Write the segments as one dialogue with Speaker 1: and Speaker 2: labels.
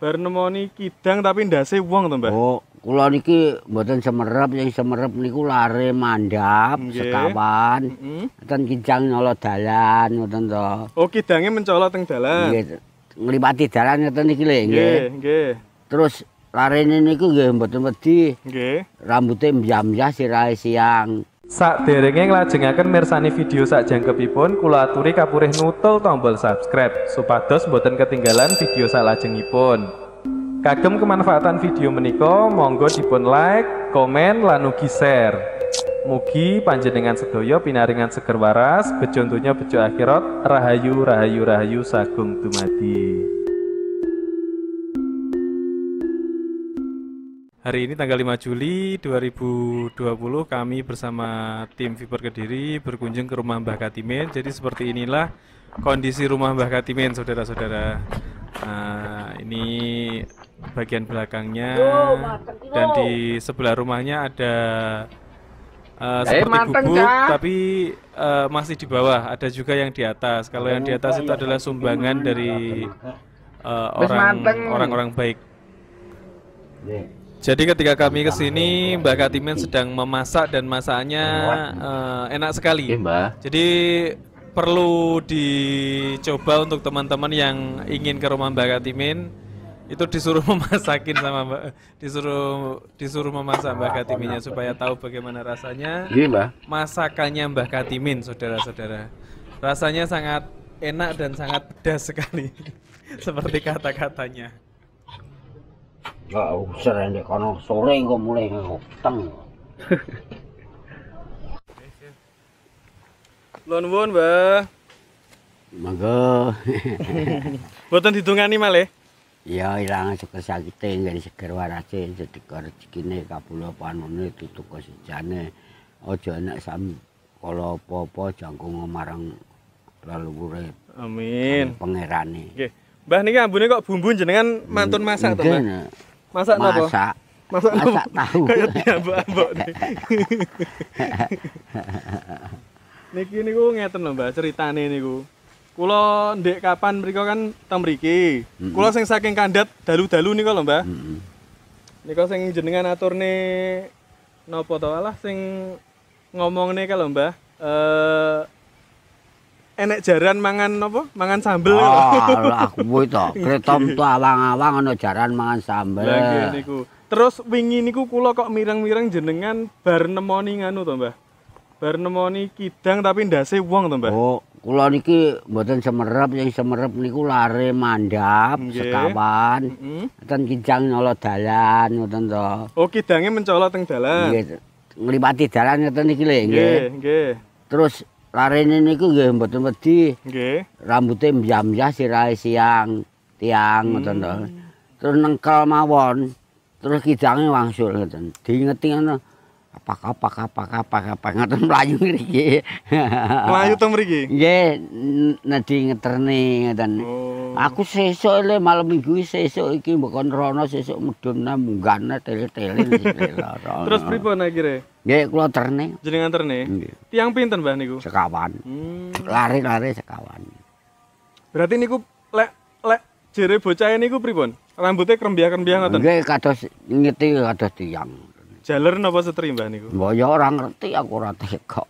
Speaker 1: Bar nemoni kidang tapi ndase wong to, Mbah.
Speaker 2: Oh, kula niki mboten semerap, yang semerap niku lare mandap
Speaker 1: Nggih.
Speaker 2: sekawan.
Speaker 1: Heeh.
Speaker 2: Ten kijang nyolot dalan ngoten to.
Speaker 1: Oh, kidange mencolot teng dalan.
Speaker 2: Nggih, nglipati dalan ngoten niki lho, nggih.
Speaker 1: Eh. Nggih, nggih.
Speaker 2: Terus larene niku nggih mboten wedi,
Speaker 1: Nggih.
Speaker 2: rambute mbyam-mbyam sirahe siang.
Speaker 3: Sakderenge nglajengaken mirsani video sakjangkepipun kula aturi kapurih nutul tombol subscribe supados boten ketinggalan video salajengipun. Kagem kemanfaatan video menika monggo dipun like, komen lan ugi share. Mugi panjenengan sedaya pinaringan seger waras, bejo donya bejo akhirat, rahayu rahayu rahayu sagung dumadi. Hari ini tanggal 5 Juli 2020 kami bersama tim Viper Kediri berkunjung ke rumah Mbah Katimin. Jadi seperti inilah kondisi rumah Mbah Katimin saudara-saudara. Nah, ini bagian belakangnya dan di sebelah rumahnya ada eh, seperti gubuk tapi eh, masih di bawah. Ada juga yang di atas. Kalau yang di atas itu adalah sumbangan dari eh, orang orang-orang baik. Jadi ketika kami ke sini Mbak Katimin sedang memasak dan masakannya eh, enak sekali. Jadi perlu dicoba untuk teman-teman yang ingin ke rumah Mbak Katimin itu disuruh memasakin sama Mbak disuruh disuruh memasak Mbak Katiminnya supaya tahu bagaimana rasanya
Speaker 4: Iya mbah.
Speaker 3: masakannya Mbah Katimin saudara-saudara. Rasanya sangat enak dan sangat pedas sekali seperti kata-katanya.
Speaker 2: Ya usah ndek kono sore engko mulai ngoteng.
Speaker 1: Lon nuwun, Mbah.
Speaker 2: Monggo.
Speaker 1: Boten didungani malih.
Speaker 2: Ya ilang seger sakite nggih seger warase sedekah rezekine kabula panune tutuka sejane. Aja enak sam kala apa-apa jangkung marang leluhure
Speaker 1: Amin.
Speaker 2: pangerane.
Speaker 1: Nggih. Mbah niki ambune kok bumbu jenengan mantun masak to, Mbah?
Speaker 2: Nggih,
Speaker 1: Masak napa?
Speaker 2: Masak.
Speaker 1: Masak napa?
Speaker 2: Masak tahu.
Speaker 1: Kayak diambak-ambak nih. Niki niku ngeten lho Mbak, ceritane niku. Kula ndek kapan mriku kan teng mriki. Kula sing saking kandat dalu-dalu niku lho Mbak.
Speaker 2: Heeh.
Speaker 1: Niku sing jenengan aturne napa to alah sing ngomongne kalau Mbah. Eh enek jaran mangan napa? Mangan sambel. lho.
Speaker 2: Oh, lah aku kuwi to. Kretom to awang-awang ana jaran mangan sambel.
Speaker 1: Lah nggih niku. Terus wingi niku kula kok mireng-mireng jenengan bar nemoni nganu to, Mbah. Bar nemoni kidang tapi ndase wong to, Mbah.
Speaker 2: Oh, kula niki mboten semerap, yang semerap niku lare mandap
Speaker 1: Nggih.
Speaker 2: sekawan.
Speaker 1: Heeh.
Speaker 2: Ten kijang nyolot dalan ngoten to.
Speaker 1: Oh, kidange mencolot teng dalan.
Speaker 2: Nggih. Nglipati dalan ngoten niki lho, nggih.
Speaker 1: Eh. Nggih, nggih.
Speaker 2: Terus larene niku nggih mboten wedi,
Speaker 1: Nggih.
Speaker 2: rambute mbyam-mbyam sirahe siang, tiang ngoten to. Terus nengkel mawon. Terus kidange wangsul ngoten. Diingeti ngono. Apa apa apa apa apa ngoten mlayu ngriki. Ah.
Speaker 1: Melayu teng mriki.
Speaker 2: Nggih, n- nedhi ngeterne ngoten.
Speaker 1: Oh.
Speaker 2: Aku sesuk le malam minggu iki sesuk iki mbekon rono sesuk medun nang munggane tele-tele
Speaker 1: Terus pripun akhire?
Speaker 2: Nggih kula terne.
Speaker 1: Jenengan terne.
Speaker 2: Nggih,
Speaker 1: Tiang pinten, Mbah niku?
Speaker 2: sekawan.
Speaker 1: Hmm.
Speaker 2: Lari-lari sekawan.
Speaker 1: Berarti niku lek lek jere bocah niku pripun? Rambutnya krembiah-krembiah ngoten.
Speaker 2: Nggih kados ngiti kados tiang.
Speaker 1: Jaler napa setri, Mbah niku?
Speaker 2: Mbok ya ora ngerti aku ora tega.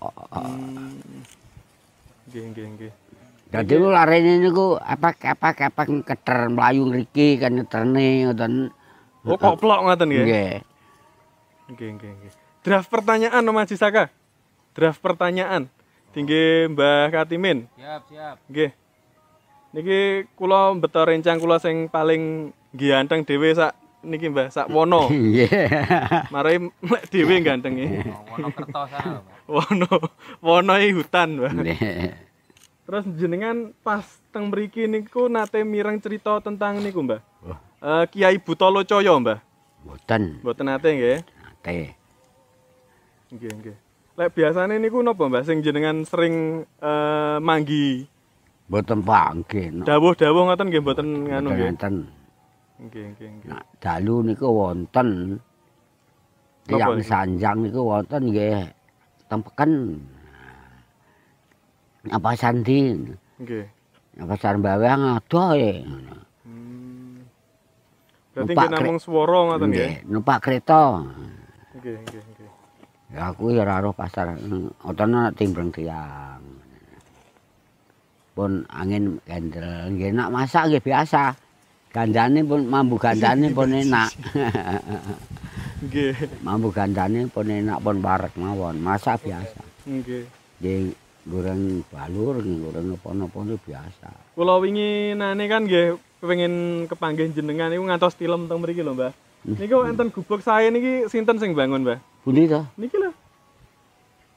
Speaker 1: Nggih, nggih, nggih.
Speaker 2: Dadi lu larene niku epak-epak-epak keter mlayu ngriki kan ngeterne ngoten.
Speaker 1: Oh, koplok ngoten nggih.
Speaker 2: Nggih.
Speaker 1: Oke, oke, oke. Draft pertanyaan Om Haji Saka. Draft pertanyaan. Tinggi Mbah Katimin. Siap, siap. Nggih. Niki kula beto rencang kula sing paling ganteng dhewe sak niki Mbah sak Wono.
Speaker 2: Nggih.
Speaker 1: Mare mek dhewe gantenge. ah, Wono Kertosa. Wono Wono iki hutan, Mbah.
Speaker 2: Nggih.
Speaker 1: Terus jenengan pas teng mriki niku nate mireng cerita tentang niku, Mbah.
Speaker 2: Wah.
Speaker 1: Eh Kiai Butolo Coyo, Mbah.
Speaker 2: Mboten.
Speaker 1: Mboten nate nggih.
Speaker 2: Nate.
Speaker 1: Nggih, nggih. Lek biasane niku napa Mbah sing jenengan sering eh, manggi
Speaker 2: Mboten panggih.
Speaker 1: dawuh-dawuh ngoten nggih mboten nganu nggih.
Speaker 2: Wonten.
Speaker 1: Nggih, nggih, nggih.
Speaker 2: Nah, dalu niku wonten. Tiang
Speaker 1: niku?
Speaker 2: sanjang niku wonten nggih tempeken. Apa sandin?
Speaker 1: Nggih.
Speaker 2: Apa sarbawang adoh e.
Speaker 1: Hmm. Berarti
Speaker 2: Numpak
Speaker 1: nggih namung swara ngoten nggih.
Speaker 2: Nggih, numpak kereta.
Speaker 1: Nggih, nggih, nggih.
Speaker 2: Ya aku ya ora roh pasar. Otone timbreng tiang. Pun angin kendel, nggih enak masak nggih biasa. Gandane pun mambu gandane pun enak.
Speaker 1: Nggih,
Speaker 2: mambu gandane pun enak pun barek mawon, masak biasa.
Speaker 1: nggih.
Speaker 2: Nggih goreng balur, nggih goreng apa-apa itu biasa.
Speaker 1: Kula wingi nane kan nggih pengen kepanggih jenengan niku ngantos tilem teng mriki lho, Mbah. Niku enten gubuk saya niki sinten sing bangun, Mbah?
Speaker 2: Pundi to?
Speaker 1: Niki lho.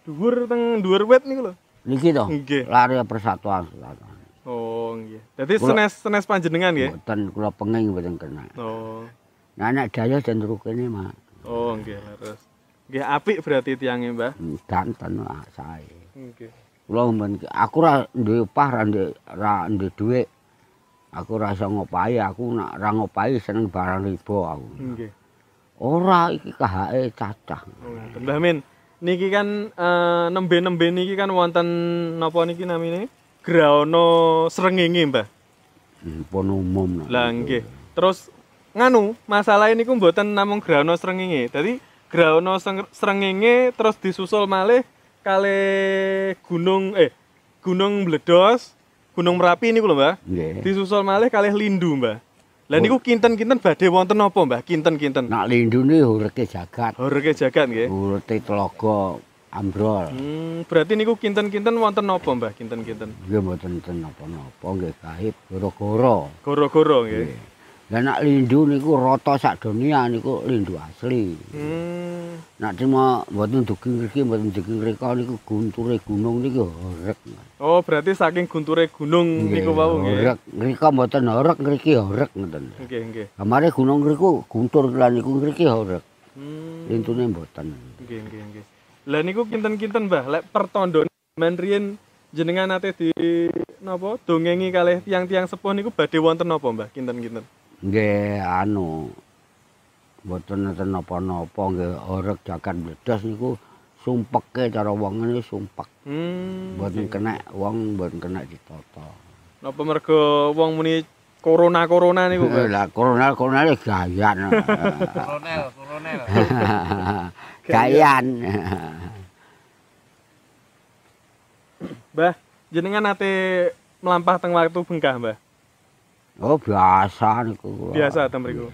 Speaker 1: Dhuwur teng dhuwur wit niku lho.
Speaker 2: Niki to.
Speaker 1: Nggih.
Speaker 2: Lari persatuan persatuan.
Speaker 1: Oh, nggih. Dadi senes
Speaker 2: Kula-
Speaker 1: senes panjenengan nggih.
Speaker 2: Mboten kula penging mboten kena.
Speaker 1: Oh.
Speaker 2: Nah nek daya jendru kene mak
Speaker 1: Oh, nggih, leres. Nggih apik berarti tiange, Mbah.
Speaker 2: danten lah sae.
Speaker 1: Nggih.
Speaker 2: Kula men aku ra duwe upah ra duwe ra duwe dhuwit. Aku ra iso ngopahi, aku nak ra ngopahi seneng barang riba aku.
Speaker 1: Nggih.
Speaker 2: Ora iki kahake cacah.
Speaker 1: Oh, ngoten. Mbah Min, niki kan eh, nembe-nembe niki kan wonten napa niki namine? Graono srengenge, Mbah.
Speaker 2: Hmm, Pun umum.
Speaker 1: Lah nggih. Terus nganu, masalah ini ku mboten namung graono srengenge. Dadi graono seng- srengenge terus disusul malih kali gunung eh gunung Bledos, gunung Merapi niku lho, Mbah.
Speaker 2: Nggih.
Speaker 1: Disusul malih kalih Lindu, Mbah. Lah niku kinten-kinten badhe wonten napa, Mbah? Kinten-kinten.
Speaker 2: Nak lindune urete jagat,
Speaker 1: Horeke jagat Nah. nggih.
Speaker 2: urete telaga ambrol.
Speaker 1: Hmm, berarti niku kinten-kinten wonten napa, Mbah? Kinten-kinten.
Speaker 2: Nggih mboten ten apa-apa nggih gaib gara-gara.
Speaker 1: Goro-goro nggih.
Speaker 2: Lah nek lindu niku rata sak dunia niku lindu asli.
Speaker 1: Hmm.
Speaker 2: Nek cuma mboten dugi mriki mboten dugi mriko niku gunture gunung niku horek.
Speaker 1: Oh, berarti saking gunture gunung niku wau nggih.
Speaker 2: Horek mriko mboten horek mriki horek ngoten.
Speaker 1: Nggih, nggih.
Speaker 2: Kamare gunung mriku guntur lan niku mriki horek.
Speaker 1: Hmm.
Speaker 2: Lintune mboten.
Speaker 1: Nggih, nggih, nggih. Lah niku kinten-kinten, Mbah, lek pertandane men riyen jenengan nate di napa dongengi kalih tiang-tiang sepuh niku badhe wonten napa, Mbah? Kinten-kinten.
Speaker 2: Nggih anu mboten nenten napa-napa nggih horek jagat bledas niku sumpeke cara wong ngene sumpek.
Speaker 1: Hmm.
Speaker 2: Mboten kena wong mboten kena ditata.
Speaker 1: Napa mergo wong muni corona-corona niku, Mbah?
Speaker 2: Eh, Lah kolonel kolonel gayan.
Speaker 4: Kolonel, kolonel.
Speaker 2: gayan.
Speaker 1: Mbah, jenengan nate melampah teng waktu bengkah, Mbah?
Speaker 2: oh biasa niku. kula.
Speaker 1: Biasa ta mriku.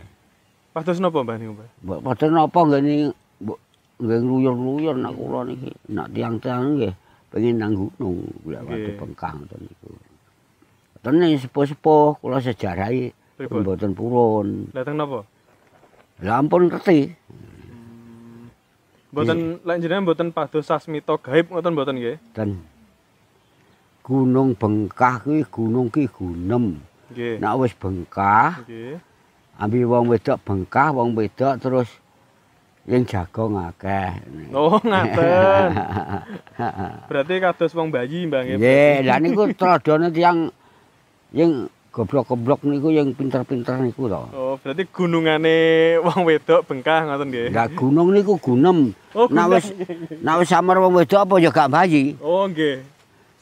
Speaker 1: Pados napa, Mbah niku, Mbah?
Speaker 2: Mbok padha napa ngene mbok nggih ngluyur-ngluyur nak kula niki. Nak tiang-tiang nggih pengen nang gunung kula watu
Speaker 1: Nggih.
Speaker 2: pengkang ngoten niku. Tene sepuh-sepuh kula sejarahi
Speaker 1: Pripun?
Speaker 2: mboten purun.
Speaker 1: Lah teng napa?
Speaker 2: Lah ampun ngerti.
Speaker 1: Mboten lek jenengan mboten pados sasmita gaib ngoten mboten nggih.
Speaker 2: Dan gunung bengkah kuwi gunung ki gunem.
Speaker 1: Nggih.
Speaker 2: Nak wis bengkah
Speaker 1: Nggih.
Speaker 2: ambil wong wedok bengkah, wong wedok terus yang jago ngakeh.
Speaker 1: Oh, ngaten. Berarti kados wong bayi, Mbah nggih.
Speaker 2: Nggih, lha niku tradane tiyang yang goblok-goblok niku yang pinter-pinter niku to.
Speaker 1: Oh, berarti gunungane wong wedok bengkah ngoten nggih.
Speaker 2: Lah gunung niku gunem.
Speaker 1: Oh, gunem.
Speaker 2: Nak wis nak wis samar wong wedok apa ya gak bayi.
Speaker 1: Oh, nggih.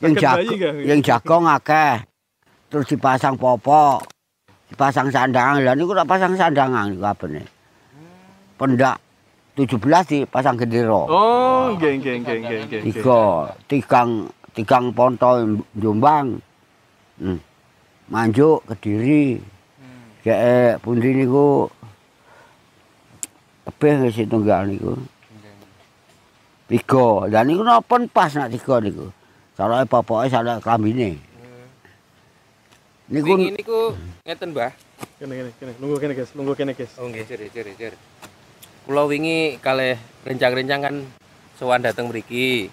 Speaker 2: Yang
Speaker 1: Sakit
Speaker 2: jago
Speaker 1: bayi nggak, nggih?
Speaker 2: yang jago ngakeh. Terus dipasang popok. Dipasang sandangan. Lah niku tak pasang sandangan niku abene. Pendak 17 dipasang gendera.
Speaker 1: Oh, nggih nggih nggih nggih nggih.
Speaker 2: tiga tigang tigang ponto Jombang hmm. Manjuk Kediri keke pundi niku tebih wis tunggal niku tiga dan niku nopen pas nak tiga niku salake popoke salake klambine niku
Speaker 4: Wingi niku ngeten, Mbah.
Speaker 1: Kene kene kene. Nunggu kene, guys. Nunggu kene, guys.
Speaker 4: Oh nggih, jere jere jere. Kula wingi kalih rencang-rencang kan sowan dateng mriki.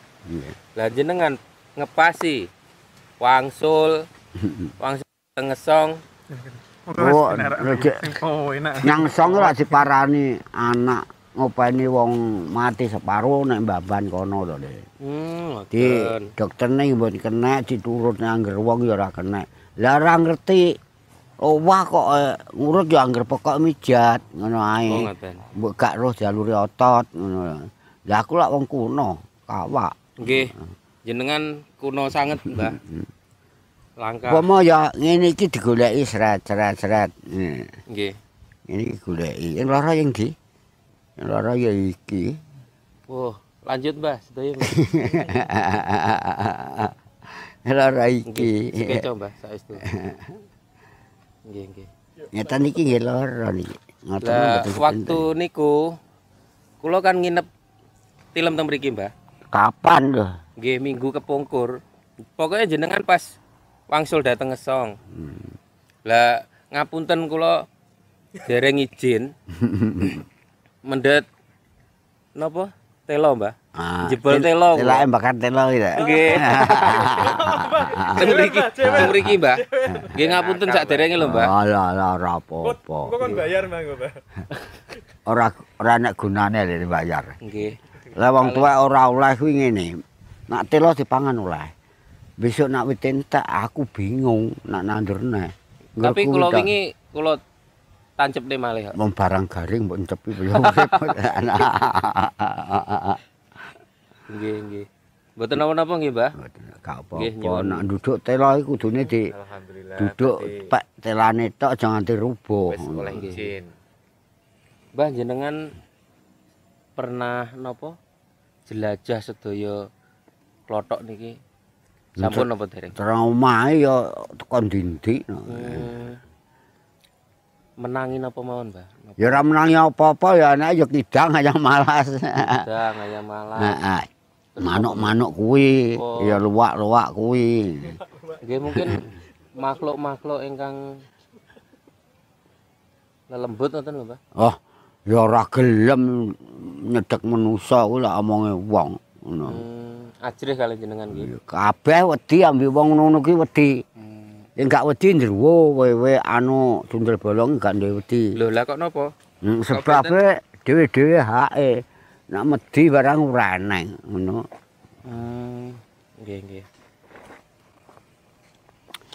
Speaker 4: Lah jenengan ngepasi wangsul wangsul tengesong
Speaker 2: Oh, rejek- Nang song ora diparani anak ngopeni wong mati separo nek mbaban kono to Le.
Speaker 4: hmm
Speaker 2: Di
Speaker 4: ngoten.
Speaker 2: dokterne mboten kena, diturut angger wong ya ora kena. Lah ora ngerti. Oh wah kok eh, ngurut ya angger pokok mijat ngono
Speaker 4: Oh
Speaker 2: ae.
Speaker 4: ngoten.
Speaker 2: Mbok gak roh jalure otot ngono. Lah aku lak wong kuno, kawak.
Speaker 4: Nggih. Jenengan kuno sanget, Mbah. Langka.
Speaker 2: Upama ya ngene iki digoleki sret sret sret. Hmm.
Speaker 4: Nggih.
Speaker 2: Ini goleki. Yang lara yang di. Yang lara ya iki.
Speaker 4: Wah, lanjut Mbah, sedaya.
Speaker 2: Yang lara iki.
Speaker 4: Nggih, sepeda Mbah saestu. Nggih, nggih.
Speaker 2: Ngeten iki nggih lara niki. Ngoten
Speaker 4: Lah,
Speaker 2: mboten
Speaker 4: waktu
Speaker 2: sepinten.
Speaker 4: niku kula kan nginep tilem teng mriki, Mbah.
Speaker 2: kapan lho?
Speaker 4: Nggih, minggu kepungkur. Pokoknya jenengan pas wangsul dateng ngesong.
Speaker 2: Hmm.
Speaker 4: Lah, ngapunten kula dereng izin. Mendet napa? Telo, Mbah.
Speaker 2: Ah,
Speaker 4: Jebol
Speaker 2: tel-
Speaker 4: telo,
Speaker 2: Telake
Speaker 4: kok.
Speaker 2: bakar telo iki.
Speaker 4: Nggih. Teng mriki, teng mriki, Mbah. Nggih ngapunten sak derenge lho, Mbah.
Speaker 2: Alah, alah, Ah, ora
Speaker 1: Kok kok
Speaker 2: apa-apa.
Speaker 1: kon bayar Mbak, Mbak?
Speaker 2: Ora ora enak gunane lho dibayar.
Speaker 4: Nggih.
Speaker 2: Lah wong tuwa ora oleh kuwi ngene. Nak telo dipangan oleh. Besok nak wit entek aku bingung nak nandur neh. Ngger
Speaker 4: Tapi
Speaker 2: kuwi
Speaker 4: kula
Speaker 2: tak-
Speaker 4: wingi kula tancepne malih kok.
Speaker 2: Wong barang garing mbok encepi ya urip.
Speaker 4: Nggih, nggih. Mboten napa-napa nggih, Mbah.
Speaker 2: Gak
Speaker 4: Nggih,
Speaker 2: apa-apa
Speaker 4: nyuwun.
Speaker 2: nak duduk telo iku kudune di
Speaker 5: Alhamdulillah.
Speaker 2: duduk
Speaker 5: berarti
Speaker 2: pek telane tok aja nganti
Speaker 5: wis
Speaker 2: rubuh.
Speaker 5: oleh izin.
Speaker 4: Mbah jenengan pernah napa jelajah sedaya klothok niki? Sampun napa dereng?
Speaker 2: Terang omahe ya tekan dindik. no.
Speaker 4: Hmm. Menangi napa mawon, Mbah? Napa
Speaker 2: Ya ora menangi apa-apa ya anak ya kidang aja malas.
Speaker 4: gedang kaya malah.
Speaker 2: Heeh. Manuk-manuk kuwi,
Speaker 4: Oh.
Speaker 2: ya luwak-luwak kuwi.
Speaker 4: Nggih mungkin makhluk-makhluk ingkang lelembut ngoten lho, Mbah.
Speaker 2: Oh, ya ora gelem nyedek manusa kuwi lak omonge wong ngono.
Speaker 4: Hmm, ajrih kali jenengan nggih.
Speaker 2: Kabeh wedi ambe wong ngono kuwi wedi.
Speaker 4: Hmm.
Speaker 2: Yen gak wedi ndruwo wewe anu tundel bolong gak duwe wedi.
Speaker 4: Lho, lah kok napa?
Speaker 2: Hmm, Sebabe dhewe-dhewe hake. Nak medhi barang ora eneng ngono.
Speaker 4: Hmm, nggih nggih.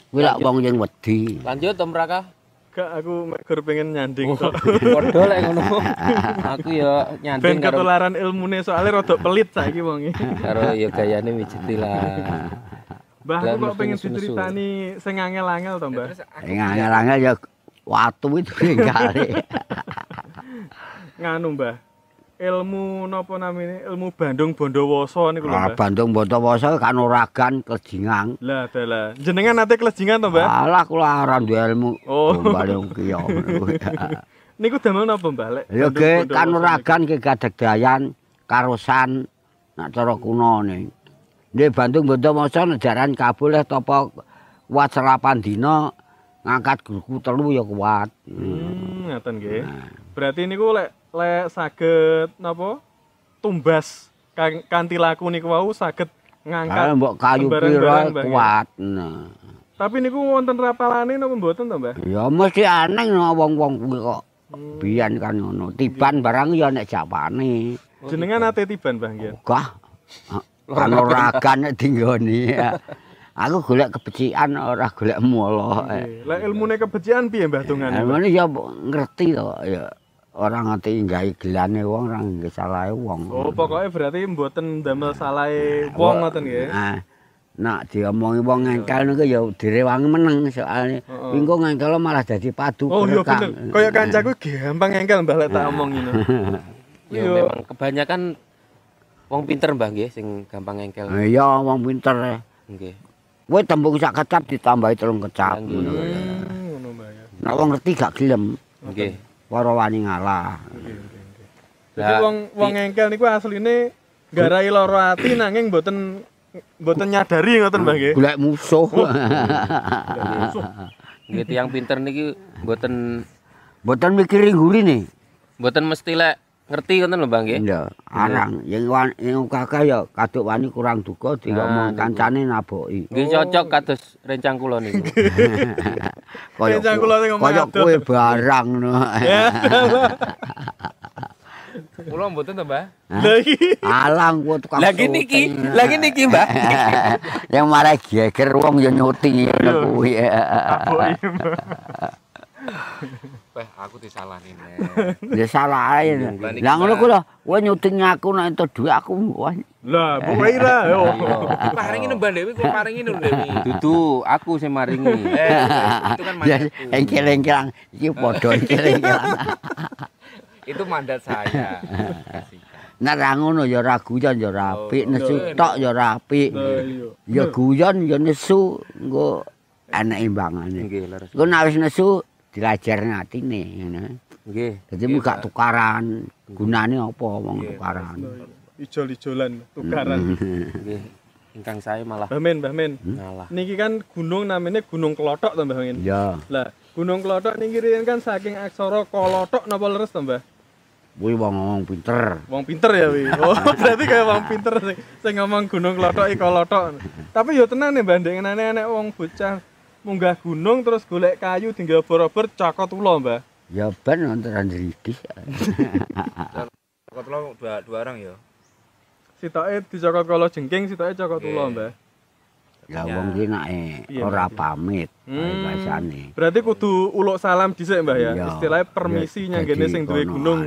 Speaker 2: Kuwi lak wong yen wedi.
Speaker 4: Lanjut Om Raka.
Speaker 1: Gak aku megur pengen
Speaker 2: Oh,
Speaker 1: nyanding kok.
Speaker 4: Padha lek ngono. Aku ya
Speaker 1: Ben
Speaker 4: nyanding karo
Speaker 1: ketularan ilmune soalnya rodok pelit saiki wonge.
Speaker 4: karo ya gayane mijeti lah.
Speaker 1: Mbah aku
Speaker 4: Lah,
Speaker 1: kok pengen
Speaker 4: nesu-nesu.
Speaker 1: diceritani sing angel-angel to, Mbah.
Speaker 2: Sing angel-angel ya watu itu kali.
Speaker 1: Nganu, Mbah. Ilmu napa namine? Ilmu Bandung Bondowoso niku lho,
Speaker 2: Lah
Speaker 1: Mbah.
Speaker 2: Ah, Bandung Bondowoso kan oragan keljingang.
Speaker 1: Lah dalah. Jenengan nate kelejingan to, Mbah?
Speaker 2: Alah kula aran duwe ilmu.
Speaker 1: Oh.
Speaker 2: Gombal yang kiyo.
Speaker 1: Niku damel napa, Mbah? Lek
Speaker 2: Ya
Speaker 1: Bandung
Speaker 2: ge
Speaker 1: Bondowoso
Speaker 2: kan
Speaker 1: niku?
Speaker 2: oragan ki kadegdayan karosan nak cara kuno ne. Ndhe Bandung Bondowoso nejaran kabuleh topo kuat selapan dina ngangkat gurku telu ya kuat. Hmm.
Speaker 1: Hmm, ngaten nggih. Berarti niku lek lek saged napa? Tumbas kan- kanthi laku niku wau saged
Speaker 2: Kalau
Speaker 1: ngangkat.
Speaker 2: Ah, mbok kayu
Speaker 1: sembarang-barang,
Speaker 2: pira
Speaker 1: Mbah,
Speaker 2: kuat. Nah.
Speaker 1: Tapi niku wonten rapalane napa mboten to, Mbah?
Speaker 2: Ya mesti aneh no wong-wong kuwi kok.
Speaker 1: Hmm.
Speaker 2: Biyen kan ngono. Tiban barang ya nek japane.
Speaker 1: Jenengan nate tiban, Mbah, nggih.
Speaker 2: Gah. Kan ragan dinggoni. Aku golek kebecikan ora golek mulo.
Speaker 1: Nggih. Lek ilmune kebecikan piye, Mbah, dongane? Mbah?
Speaker 2: Emane ya ngerti to ya ora nganti gawe gelane wong ora nggih salahe wong.
Speaker 1: Oh, pokoknya berarti mboten damel salahe
Speaker 2: Eh,
Speaker 1: wong ngoten nggih.
Speaker 2: Nah, nak diomongi wong ngengkel niku ya direwangi meneng soalnya
Speaker 1: Heeh.
Speaker 2: wingko ngengkel malah dadi padu
Speaker 1: Oh iya
Speaker 2: kerekang.
Speaker 1: bener. Kayak kancaku gampang engkel Mbah lek tak
Speaker 2: Eh.
Speaker 1: omong ngono.
Speaker 4: Ya
Speaker 1: Iya.
Speaker 4: memang kebanyakan wong pinter Mbah nggih sing gampang engkel.
Speaker 2: Eh, Iya wong pinter.
Speaker 4: Nggih.
Speaker 2: Kowe tembung sak kecap ditambahi telung kecap.
Speaker 4: Nggih.
Speaker 2: ngono.
Speaker 1: Hmm, ngono Mbah ya.
Speaker 2: Nek wong ngerti gak gelem,
Speaker 4: Nggih.
Speaker 2: para wani ngalah.
Speaker 1: Oke, oke, oke. Jadi
Speaker 4: Lah,
Speaker 1: wong wong engkel niku asline garai lara ati nanging mboten mboten nyadari ngoten Mbah nggih.
Speaker 2: Golek musuh.
Speaker 4: nggih tiyang pinter niki mboten
Speaker 2: Mboten mikir gurine.
Speaker 4: mboten mesti lek ngerti ngoten lho Mbah nggih.
Speaker 2: Iya, arang. Yang wan- yang kakak ya kaduk wani kurang duka Eh, diomong kancane naboki.
Speaker 4: Nggih
Speaker 1: Oh.
Speaker 4: cocok kados rencang kula niku.
Speaker 2: Kaya
Speaker 1: Kancang kula sing ngomong
Speaker 2: kaya
Speaker 1: aduh.
Speaker 2: kowe barang no.
Speaker 5: Kula mboten to, Mbah?
Speaker 1: Lah iki
Speaker 2: Alang kowe tukang.
Speaker 4: Lagi
Speaker 2: syuting.
Speaker 4: niki, lagi niki Mbah.
Speaker 2: yang marah geger wong ya nyuti ngono kuwi.
Speaker 1: aboke.
Speaker 5: Wah, aku disalani Nek.
Speaker 2: Ya salah ae.
Speaker 4: Bulan iki
Speaker 2: Lah ngono
Speaker 4: Mbak.
Speaker 2: ku lho, kowe nyuting aku nek entuk dhuwit aku wah.
Speaker 1: Lah, pokoknya ira. yo.
Speaker 5: Paringi nang Mbak Dewi, kok paringi nang Dewi.
Speaker 4: Dudu aku sing maringi.
Speaker 5: Eh, itu kan
Speaker 2: Ya
Speaker 5: mandatku.
Speaker 2: engkel-engkelan iki padha engkel-engkelan.
Speaker 5: Itu mandat saya. Kasihkan.
Speaker 2: Nek ra ngono ya ra guyon ya ra apik,
Speaker 1: Oh,
Speaker 2: nesu tok ya ra apik.
Speaker 1: Lah, Oh, iya.
Speaker 2: Ya guyon ya nesu engko ana imbangane.
Speaker 4: Nggih, leres.
Speaker 2: Engko nek wis nesu dilajarne atine ngono.
Speaker 4: Nggih.
Speaker 2: Dadi muga tukaran, gunane apa wong tukaran.
Speaker 1: Ijol-ijolan tukaran.
Speaker 4: Nggih. Ingkang saya malah
Speaker 1: Mbah Men, Mbah Men.
Speaker 4: ngalah.
Speaker 1: Niki kan gunung namanya Gunung Kelotok to, Mbah Men.
Speaker 2: Ya,
Speaker 1: Lah, Gunung Kelotok niki riyen kan saking aksara kolotok napa leres to, Mbah?
Speaker 2: kuwi wong ngomong pinter.
Speaker 1: Wong pinter ya wi. Oh, berarti kayak wong pinter sing sing ngomong gunung klothok iki klothok. Tapi yo tenan ya Mbak, ndengenane enek wong bocah munggah gunung terus golek kayu tinggal obor-obor cakot ula, Mbah.
Speaker 2: Ya ben nonton ridis.
Speaker 5: Kok tolong dua dua orang ya.
Speaker 1: Sitoke dicokot kala jengking, sitoke cakot ula, Mbah.
Speaker 2: Ya wong ki nek e
Speaker 1: Iya,
Speaker 2: ora pamit
Speaker 1: Hmm.
Speaker 2: bahasane.
Speaker 1: Berarti kudu uluk salam dhisik, Mbah ya.
Speaker 2: Iya.
Speaker 1: Istilahnya permisi
Speaker 2: Ya,
Speaker 1: nyanggene
Speaker 2: jadi
Speaker 1: sing duwe
Speaker 2: konoan.
Speaker 1: gunung.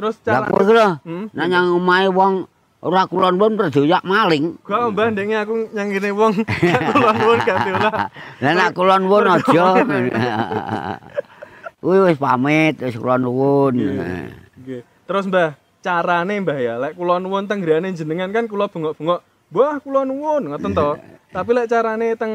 Speaker 1: Terus
Speaker 2: Lah
Speaker 1: cara
Speaker 2: kowe ki lho,
Speaker 1: Hmm?
Speaker 2: nek nyang omahe wong ora kulon pun perdoyak maling.
Speaker 1: Gak Mbah ndenge aku nyanggene wong gak kula nuwun gak diolah.
Speaker 2: Lah nek kulon pun aja. Kuwi wis pamit, wis kulon nuwun.
Speaker 1: Nggih. Terus Mbah, carane Mbah ya, lek kula nuwun teng griyane jenengan kan kula bengok-bengok, "Mbah, kula nuwun," ngoten to. Tapi lek carane teng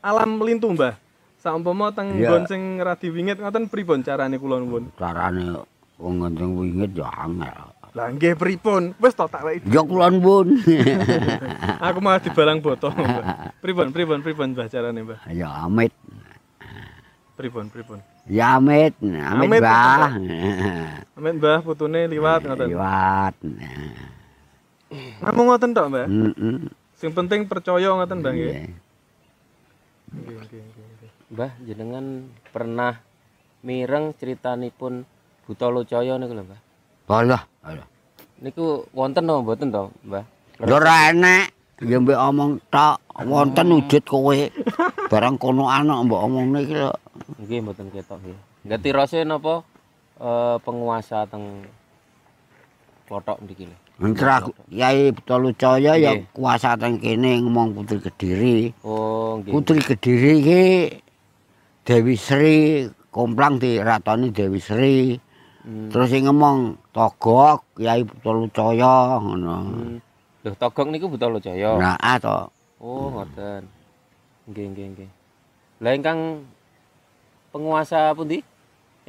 Speaker 1: alam lintu Mbah, saumpama teng
Speaker 2: Iya.
Speaker 1: nggon sing ra diwingit ngoten pripun carane kula nuwun?
Speaker 2: Carane wong ngendeng wingit ya angel.
Speaker 1: Lah nggih pripun? Wis to tak lek
Speaker 2: Ya kulon pun.
Speaker 1: aku malah dibalang botol, Mbah. Pripun, pripun, pripun Mbah carane Mbah?
Speaker 2: Ya amit.
Speaker 1: Pripun, pripun.
Speaker 2: Ya amit, amit,
Speaker 1: Amit,
Speaker 2: Mbah.
Speaker 1: Amin Mbah putune liwat ngoten.
Speaker 2: Liwat.
Speaker 1: Namung ngoten tok Mbah.
Speaker 2: Heeh.
Speaker 1: Sing penting percaya ngoten Mbah nggih.
Speaker 2: Iya.
Speaker 1: Nggih, nggih, nggih.
Speaker 4: Mbah jenengan pernah mireng critanipun Buta Lucaya niku lho, Mbah.
Speaker 2: Alah, alah.
Speaker 4: Niku wonten to mboten to, Mbah?
Speaker 2: Lho ora enak. Ya mbek omong tok, wonten wujud kowe. Barang kono ana mbok omongne iki lho.
Speaker 4: Nggih mboten ketok nggih. Ganti rose napa eh, penguasa teng kotok niki lho.
Speaker 2: Entra Kiai Beto Lucaya ya
Speaker 4: Nggih.
Speaker 2: kuasa teng kene ngomong Putri Kediri.
Speaker 4: Oh, nggih.
Speaker 2: Putri Kediri iki Dewi Sri komplang di Ratoni Dewi Sri.
Speaker 4: Hmm.
Speaker 2: Terus sing ngomong Togok Kiai Beto Lucaya ngono.
Speaker 4: Hmm. Lho togok niku Buta Lucaya.
Speaker 2: Nah, ah to.
Speaker 4: Oh, ngoten. Nggih, nggih, nggih. Lah ingkang penguasa pundi?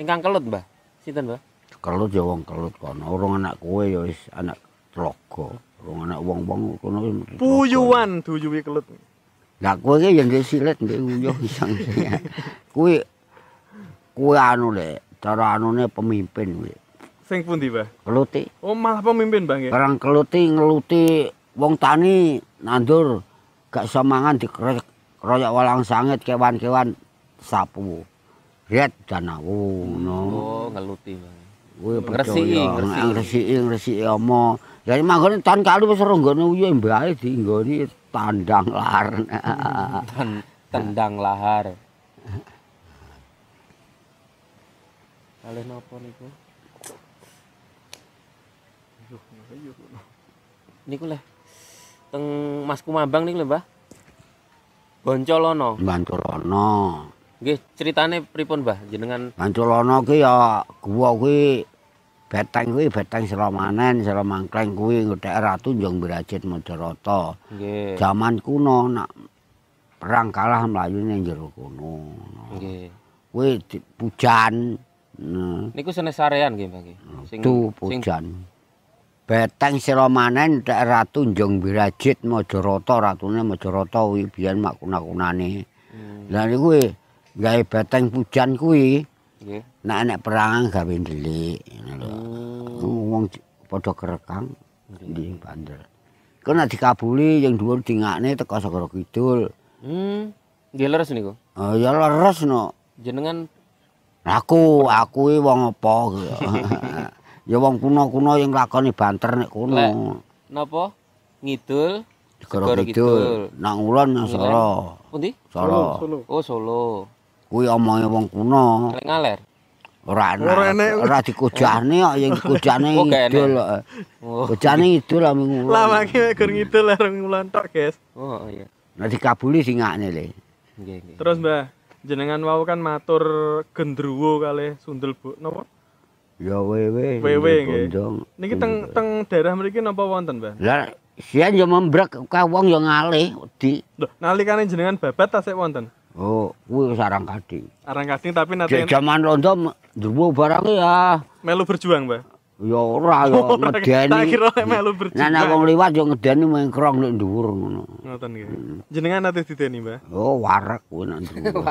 Speaker 4: Ingkang kelut, Mbah. Sinten, Mbah?
Speaker 2: Kelut ya wong kelut kono. Urung anak kowe ya wis anak tlaga. Urung anak wong-wong kono wis mesti tlaga.
Speaker 1: Puyuhan duyuwi kelut.
Speaker 2: Lah kowe iki ya ndek silet ndek uyuh isang. Kuwi kuwi anu le, cara anune pemimpin kuwi.
Speaker 1: Sing pundi Mbah?
Speaker 2: Keluti,
Speaker 1: Oh, malah pemimpin Mbah nggih.
Speaker 2: barang keluti ngeluti wong tani nandur gak iso mangan dikeroyok keroyok walang sangit kewan-kewan sapu. Riet danawu ngono.
Speaker 4: Oh, ngeluti, Mbah.
Speaker 2: Kuwi
Speaker 4: Ngresiki,
Speaker 2: percaya
Speaker 4: ngresiki.
Speaker 2: ngresiki ngresiki omo. Ya manggone tan kali wis ronggone uyuh mbae diinggoni tandang lar.
Speaker 4: Ten- tendang lahar. Kalih napa niku? Niku leh teng Mas Kumambang niku lho, Mbah. Boncolono.
Speaker 2: Bantulono.
Speaker 4: Nggih, ceritane pripun, Mbah? Jenengan
Speaker 2: Bantulono ki ya gua kuwi beteng kuwi beteng Seromanen, Seromangkleng kuwi ngethek Ratu Njong Brajit Madarata.
Speaker 4: nggih.
Speaker 2: Zaman kuno nak perang kalah mlayu ning jero kono.
Speaker 4: Nggih.
Speaker 2: Kuwi di- pujan. Nah,
Speaker 4: Niku senes sarean nggih, Mbah nggih. Sing
Speaker 2: Tu
Speaker 4: sing
Speaker 2: pujan. Beteng Seromanen ngethek Ratu Njong Brajit Madarata, ratune Madarata kuwi biyen mak kuna-kunane.
Speaker 4: Hmm,
Speaker 2: Lah niku kuwi gawe beteng pujan kuwi.
Speaker 4: nggih.
Speaker 2: Nek enek perang gawe ndelik ngono lho.
Speaker 4: Hmm,
Speaker 2: Wong j- padha kerekang
Speaker 4: nggih.
Speaker 2: di bandel. Kok nek dikabuli yang dhuwur dingakne teko segara kidul.
Speaker 4: Hmm, nggih leres niku.
Speaker 2: Eh, ya leres no.
Speaker 4: Jenengan
Speaker 2: Aku, aku iki wong apa kuwi. ya wong kuno-kuno yang lakoni banter nek
Speaker 4: Lek.
Speaker 2: kuno.
Speaker 4: napa? Ngidul
Speaker 2: Segara
Speaker 4: Segara kidul.
Speaker 2: kidul. Nang ulon nang
Speaker 4: Ngilen.
Speaker 2: Solo.
Speaker 4: pundi?
Speaker 2: Solo.
Speaker 1: Solo.
Speaker 4: Oh, Solo.
Speaker 2: kuwi omonge wong kuno.
Speaker 4: ngaler
Speaker 2: Ora
Speaker 1: Ora enek.
Speaker 2: enak. Ora dikujane kok yang eh. dikujane
Speaker 4: Oh, gak enek.
Speaker 2: idul. kok.
Speaker 4: oh,
Speaker 2: Kujane idul lah minggu.
Speaker 1: Lama ki mek gur ngidul areng ngulon tok, guys.
Speaker 4: oh iya
Speaker 2: Nah dikabuli singakne le.
Speaker 4: nggih nggih
Speaker 1: Terus Mbah, jenengan wau kan matur gendruwo kali sundel bu napa?
Speaker 2: Ya wewe.
Speaker 1: Wewe,
Speaker 2: sing
Speaker 1: nggih.
Speaker 2: gondong.
Speaker 1: Niki teng teng daerah mriki napa wonten, Mbah?
Speaker 2: Lah sian yo membrek ka wong yo ngalih di.
Speaker 1: Loh, nalikane jenengan babat tasik wonten.
Speaker 2: Oh, kuwi sarang kadi.
Speaker 1: Arangkading tapi nate
Speaker 2: Cek jaman londo m- ndruwo barang ya.
Speaker 1: melu berjuang, Mbah.
Speaker 2: Ya ora yo
Speaker 1: Ora, tak
Speaker 2: ngedeni.
Speaker 1: kira melu berjuang.
Speaker 2: Nana wong liwat yo ngedeni mengkrong nek dhuwur ngono.
Speaker 1: Ngoten nggih. Jenengan nate dideni, Mbah.
Speaker 2: Oh, warek kuwi nek ndruwo.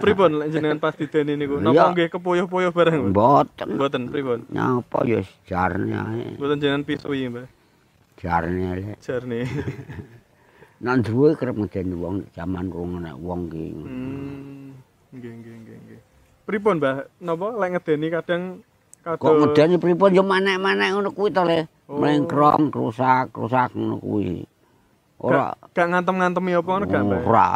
Speaker 1: Pripun lek jenengan pas dideni niku? Napa
Speaker 2: Iya.
Speaker 1: nggih kepuyuh-puyuh bareng, Mbah?
Speaker 2: Mboten.
Speaker 1: Mboten pripun?
Speaker 2: Nyapa ya jarne ae.
Speaker 1: Mboten jenengan pisuwi, Mbah.
Speaker 2: Jarne ae.
Speaker 1: Jarne.
Speaker 2: Nang duwe kerep ngedeni wong nek jaman rung nek wong ki.
Speaker 1: Hmm. Nggih, nggih, nggih, nggih. Pripun, Mbah? Napa lek ngedeni kadang
Speaker 2: Kok
Speaker 1: kadang
Speaker 2: ngedeni pripun yo manek-manek ngono kuwi to le.
Speaker 1: Eh. Oh.
Speaker 2: Mengkrong, rusak, rusak ngono kuwi. Ora Oh.
Speaker 1: Gak- gak ngantem-ngantemi apa ngono gak, Mbah?
Speaker 2: ora.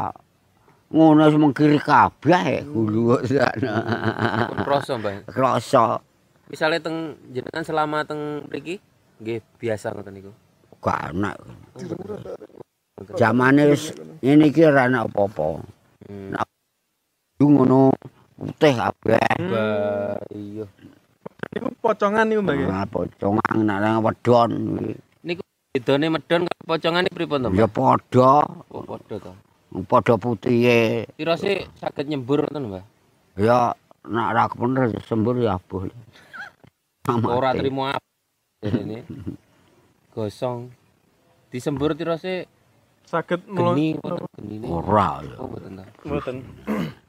Speaker 2: Ngono wis mengkiri kabeh gulu kok sana.
Speaker 4: Pun kroso mbah
Speaker 2: Krasa
Speaker 4: misalnya teng jenengan selama teng mriki nggih biasa ngoten niku
Speaker 2: gak enak. Jamane wis ngene iki ora ana apa-apa.
Speaker 4: Hmm.
Speaker 2: Nek ngono putih kabeh.
Speaker 4: Hmm. Wah, iya
Speaker 1: Niku pocongan niku, Mbah. nggih?
Speaker 2: Ora pocongan nek nang wedon kuwi.
Speaker 4: niku bedone medon karo pocongane pripun to mbah
Speaker 2: Ya padha,
Speaker 4: oh padha to
Speaker 2: padha e. putihe.
Speaker 4: Tirose saged nyembur ngoten mbah
Speaker 2: Ya nek ra kepener sembur ya abuh.
Speaker 4: ora trimo apa ini gosong disembur tirose
Speaker 1: saged melu
Speaker 4: geni ngoten geni
Speaker 2: Ora lho.
Speaker 4: Oh, mboten to.
Speaker 1: mboten